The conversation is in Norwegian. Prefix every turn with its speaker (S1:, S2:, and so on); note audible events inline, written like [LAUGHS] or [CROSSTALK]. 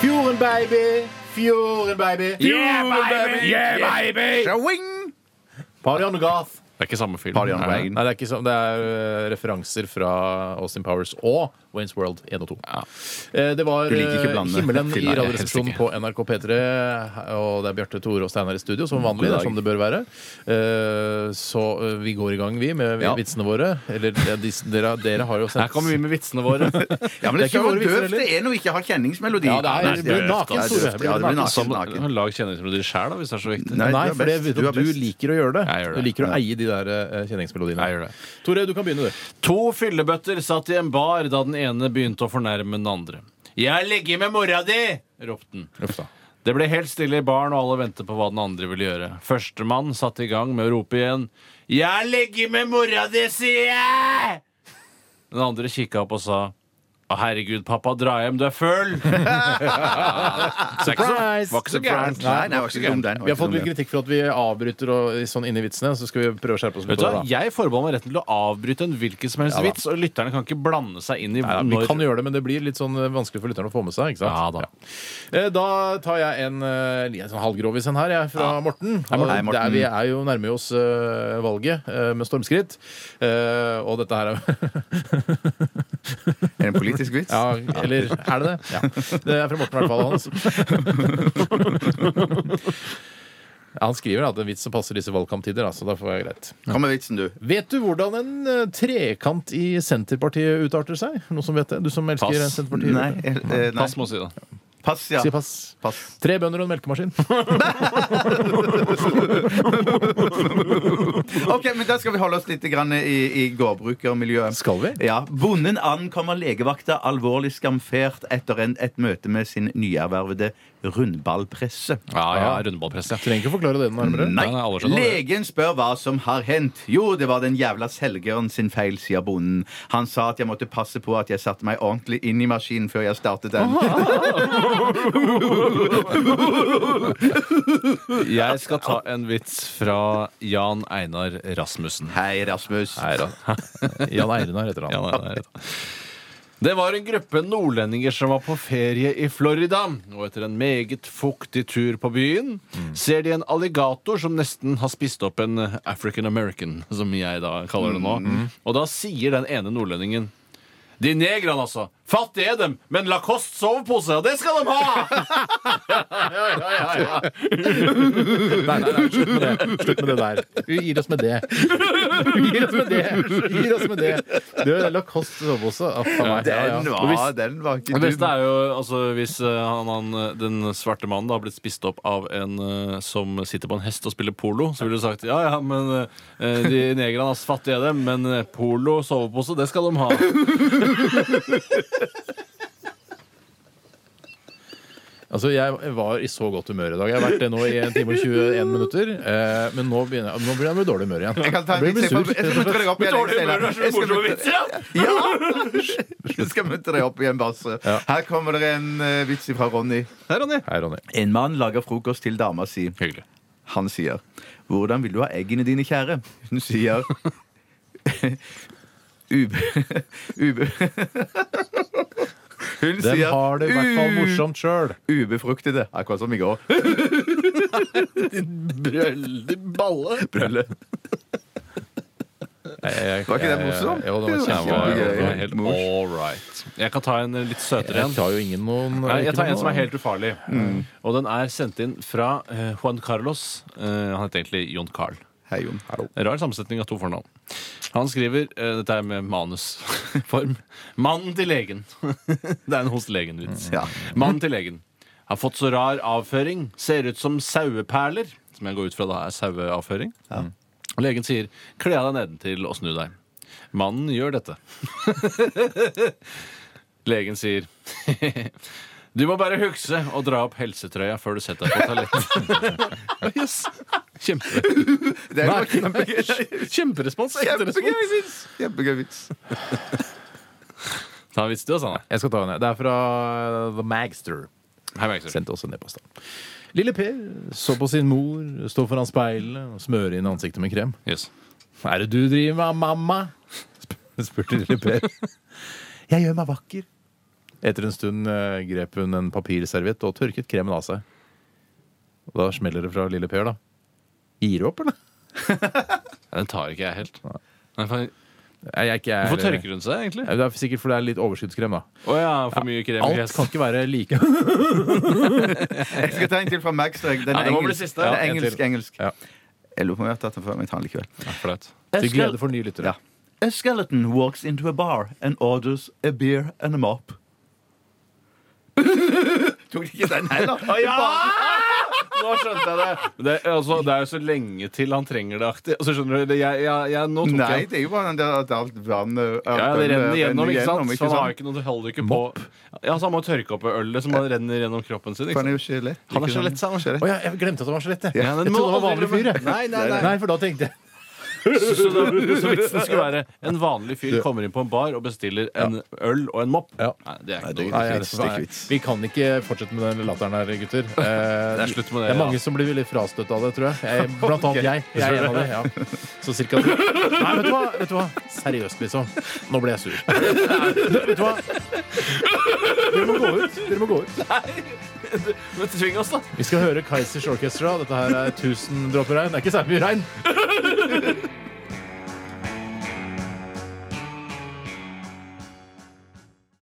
S1: Fjorden, baby! Fjorden, baby!
S2: Yeah, baby! Yeah, baby!
S3: Showing!
S1: Party on the Goth.
S2: Det er ikke samme film.
S3: Party on the
S2: Nei.
S3: wagon.
S1: Nei, det er, ikke sånn, det er øh, referanser fra Austin Powers og Waynes World 1 og 2.
S2: Ja.
S1: Eh, Det var
S3: Du liker ikke
S1: øh,
S3: blande
S1: himmelen i
S3: filmer.
S2: Nei, helst
S1: Radioresepsjonen på NRK P3, og det er Bjarte Tore og Steinar i studio, som vanlig, det
S3: dag.
S1: er sånn det bør være. Eh, Så øh, vi går i gang, vi, med
S3: Ja.
S1: vitsene våre. Eller ja, de, dere, dere har jo sendt
S2: Her kommer vi med
S1: [LAUGHS]
S2: vitsene våre.
S3: Ja, men
S1: Det er
S3: det,
S1: ikke
S3: er
S1: våre
S3: ikke
S1: vitser,
S3: døvt.
S1: heller.
S3: Det er noe ikke har kjenningsmelodi.
S1: Ja, det er,
S2: Nei,
S1: det
S2: det
S1: blir
S2: er døvt,
S1: naken,
S2: da.
S1: Tore.
S3: Det er
S1: Det blir
S3: døvt, ja, det
S1: naken.
S3: blir naken.
S2: Som, lag kjenningsmelodier sjæl, hvis det er så viktig.
S3: Nei,
S1: Nei,
S3: du er
S1: for det
S3: best.
S1: vet
S3: Du
S1: du,
S3: er
S1: du
S3: best.
S1: liker å gjøre det.
S2: Jeg gjør det.
S1: Du liker å eie de der eh, kjenningsmelodiene.
S2: Jeg gjør det.
S1: Tore, du kan begynne, du.
S2: To fyllebøtter satt i en bar da den ene begynte å fornærme den andre. 'Jeg har ligget med mora di!' ropte den. Det ble helt stille i baren, og alle ventet på hva den andre ville gjøre. Førstemann satte i gang med å rope igjen. 'Jeg har ligget med mora di, sier jeg!' Den andre kikka opp og sa 'Å, herregud, pappa, dra hjem, du er full'. [LAUGHS]
S1: Surprise!
S2: Det var ikke så gærent.
S3: Nei, nei, det var ikke så dum, den.
S1: Vi har fått litt kritikk for at vi avbryter og, sånn inn i vitsene, så skal vi prøve å skjerpe oss. litt
S2: Vet du
S1: på
S2: hva?
S1: det, da.
S2: Jeg forbeholder meg retten til å avbryte en hvilken som helst
S1: Ja da.
S2: vits, og lytterne kan ikke blande seg inn i
S1: Nei, da, vi kan gjøre det, men det blir litt sånn eh, vanskelig for lytterne å få med seg. ikke sant?
S2: Ja da.
S1: Eh, Da tar jeg en, eh, en sånn halvgrovis en her, jeg, fra Morten. Og
S3: Morten. Hei, Morten.
S1: Der vi er jo nærmer oss eh, valget eh, med stormskritt. Eh, og dette her er
S3: Er det en politisk vits?
S1: Ja, eller er det det? Ja. Det er fra Morten i hvert fall, Hans. [LAUGHS] Ja, han skriver at det er en vits som passer disse valgkamptider, altså, da, så da får jeg greit.
S3: Kom med vitsen, du.
S1: Vet du hvordan en eh, trekant i Senterpartiet utarter seg? Noen som vet det? Du som elsker
S2: Pass.
S1: Senterpartiet?
S3: Nei, eh, eh, nei.
S2: Pass, må jeg si det.
S3: Pass, ja.
S1: Si pass.
S3: Pass.
S1: Tre bønder og en melkemaskin.
S3: OK, men da skal vi holde oss litt grann i, i gårdbrukermiljøet.
S1: Skal vi?
S3: Ja. Bonden ankommer legevakta alvorlig skamfert etter en, et møte med sin nyervervede rundballpresse.
S2: Ja, ja, rundballpress, ja.
S1: Trenger ikke å forklare det nærmere.
S3: Nei.
S2: Nei, nei, alle skjønner det.
S3: Legen spør hva som har hendt. Jo, det var den jævla selgeren sin feil, sier bonden. Han sa at jeg måtte passe på at jeg satte meg ordentlig inn i maskinen før jeg startet den.
S2: Jeg skal ta en vits fra Jan Einar Rasmussen.
S3: Hei, Rasmus.
S1: Jan Einar heter
S2: Jan
S1: han.
S2: Einar. Det var en gruppe nordlendinger som var på ferie i Florida. Og etter en meget fuktig tur på byen ser de en alligator som nesten har spist opp en African American, som jeg da kaller det nå. Og da sier den ene nordlendingen De negrene, altså. Fattige er dem, men Lacoste sovepose, det skal de ha! ja, ja, ja, ja.
S1: Nei, nei, nei, slutt med det. Slutt med det der. Vi gir oss med det. Vi gir oss med det. Vi gir oss med det. Du, Lacoste sovepose. Ah, faen meg. Ja, ja.
S3: Den var,
S2: Og hvis-
S3: den var ikke
S2: Det beste
S3: dum.
S2: er jo altså, hvis eh, han, han, den svarte mannen da, har blitt spist opp av en eh, som sitter på en hest og spiller polo, så ville du sagt ja, ja, men eh, de negrene er fattige, er dem, men eh, polo, sovepose, det skal
S1: [LAUGHS]
S2: de ha.
S1: Altså, Jeg var i så godt humør i dag. Jeg har vært det nå i 1 time og 21 minutter. Eh, men nå begynner jeg, nå blir jeg med dårlig humør igjen.
S3: Jeg kan ta en
S1: Jeg blir
S3: vits. Jeg får-
S1: sur.
S3: jeg skal muntre deg opp igjen. Steinar. Jeg skal muntre- Ja! [LAUGHS] Jeg skal muntre deg opp igjen, Basse. Her kommer det en eh, vits fra Ronny.
S2: Her, Ronny.
S1: Hei, Ronny.
S3: En mann lager frokost til dama si.
S2: Hyggelig.
S3: Han sier, 'Hvordan vil du ha eggene dine, kjære?' Hun sier [LAUGHS] Ube... Ube... [LAUGHS] Hun
S1: Den
S3: sier
S1: har det i hvert fall
S3: "U-
S1: morsomt sjøl.
S3: Ubefruktede, akkurat som i
S1: [LAUGHS]
S3: går.
S2: Brøllig balle.
S3: Brølle. Var ikke det morsomt?
S1: Jo, det var
S3: Det var
S1: kjempegøy.
S3: kjempegøy.
S1: Det var helt-
S2: helt all right. Jeg kan ta en eh, litt søtere
S1: Jeg
S2: en.
S1: tar jo ingen noen
S2: Nei, jeg tar en som
S1: ikke
S2: er
S1: Mm. noen-
S2: helt ufarlig. Og den er sendt inn fra eh, Juan Carlos. Eh, han heter egentlig Jon Carl.
S3: Hei, Jon.
S2: Rar sammensetning av to fornavn. Han skriver eh, Dette er med manusform. [LAUGHS] Mannen til legen. [LAUGHS] det er en hos legen-vits.
S3: Ja.
S2: Mannen til legen. Har fått så rar avføring. Ser ut som saueperler. Som jeg går ut fra da er saueavføring.
S1: Mm.
S2: Og Legen sier 'kle av deg nedentil og snu deg'. Mannen gjør dette. [LAUGHS] Legen sier [LAUGHS] 'du må bare hukse og dra opp helsetrøya før du setter deg på toalettet'. [LAUGHS] yes. Kjempe.
S3: Det var
S1: [LAUGHS]
S3: kjempegøy.
S2: Kjemperespons.
S3: Kjempegøy vits! Kjempegøy vits.
S2: Ta en vits til oss, Anne.
S1: Jeg skal ta en. Det er fra The Magster.
S2: Hei, Maxer.
S1: Sendte også en e-post. da. Lille Per så på sin mor stå foran speilet og smøre inn ansiktet med krem.
S2: Yes.
S1: Hva er det du
S2: [LAUGHS]
S1: driver med, mamma? Sp- spurte lille Per. Jeg gjør meg vakker. Etter en stund eh, grep hun en papirserviett og tørket kremen av seg. Og da smeller det fra lille Per, da. Gir du opp, eller?
S2: Den tar ikke jeg helt. Nei, faen.
S1: Nei, Jeg, er ikke, jeg,
S2: Hvorfor tørker hun seg, egentlig?
S1: Nei, Det er sikkert fordi det er litt overskuddskrem, da.
S2: Å ja, for mye krem i
S1: Alt
S2: kjeften.
S1: kan ikke være
S2: [LAUGHS]
S1: like
S3: Jeg skal ta en til fra Max. Den er
S2: Ja, det må bli
S3: engelsk,
S2: siste.
S3: Den
S2: Ja,
S3: er
S1: en til.
S3: engelsk, engelsk.
S1: Ja.
S3: Jeg lurer på om jeg har tatt den før, men jeg tar den likevel.
S2: Ja, flaut.
S1: Til glede for nye lyttere.
S3: Ja. A skeleton walks into a bar and orders a beer and a mop. [LAUGHS] Tok ikke den heller.
S2: Nå skjønte jeg det. Men Det, er- altså, det er jo så lenge til han trenger det aktig. Altså, skjønner du, det, jeg, jeg, jeg, nå tok
S3: Nei,
S2: jeg
S3: det er jo bare den der at alt vannet at
S2: ja, det
S3: den,
S2: renner
S3: eh,
S2: igjennom, ikke sant?
S3: gjennom,
S2: Så han har jo ikke noe, det holder jo ikke på Ja, så han må tørke opp ølet som bare renner gjennom kroppen sin.
S3: For
S2: Ikke
S3: han er
S2: sant?
S3: jo skjelett.
S2: Han er
S3: ikke
S2: skjelett, sa han.
S1: Å ja, jeg glemte at det var skjelett, jeg.
S2: Ja, den
S1: Jeg
S2: må
S1: trodde det var
S2: aldri
S1: vanlig fyr,
S2: glemme.
S1: jeg.
S2: Nei, nei, nei.
S1: Nei, for da tenkte jeg
S2: Så, da- så vitsen skulle være en vanlig fyr kommer inn på en bar og bestiller en øl og en mopp.
S1: Ja.
S2: Nei, det er ikke noe
S1: Nei,
S2: godt.
S1: jeg-
S3: vits, det er ikke vits.
S1: Vi kan ikke fortsette med den latteren her, [LAUGHS] gutter. Eh,
S2: Det er slutt med det,
S1: det er mange
S2: ja.
S1: som blir veldig frastøtt av det, tror jeg. [LAUGHS] jeg blant annet jeg. Jeg er en av dem. Ja. Så cirka Nei, vet du hva? Vet du hva? Seriøst, liksom. Nå ble jeg [LAUGHS] sur. Vet du hva? Dere må gå ut. Dere må gå ut.
S2: Men tving oss, da.
S1: Vi skal høre Kaizers Orchestra. Dette her er 1000 dråper regn. Det er ikke særlig mye regn.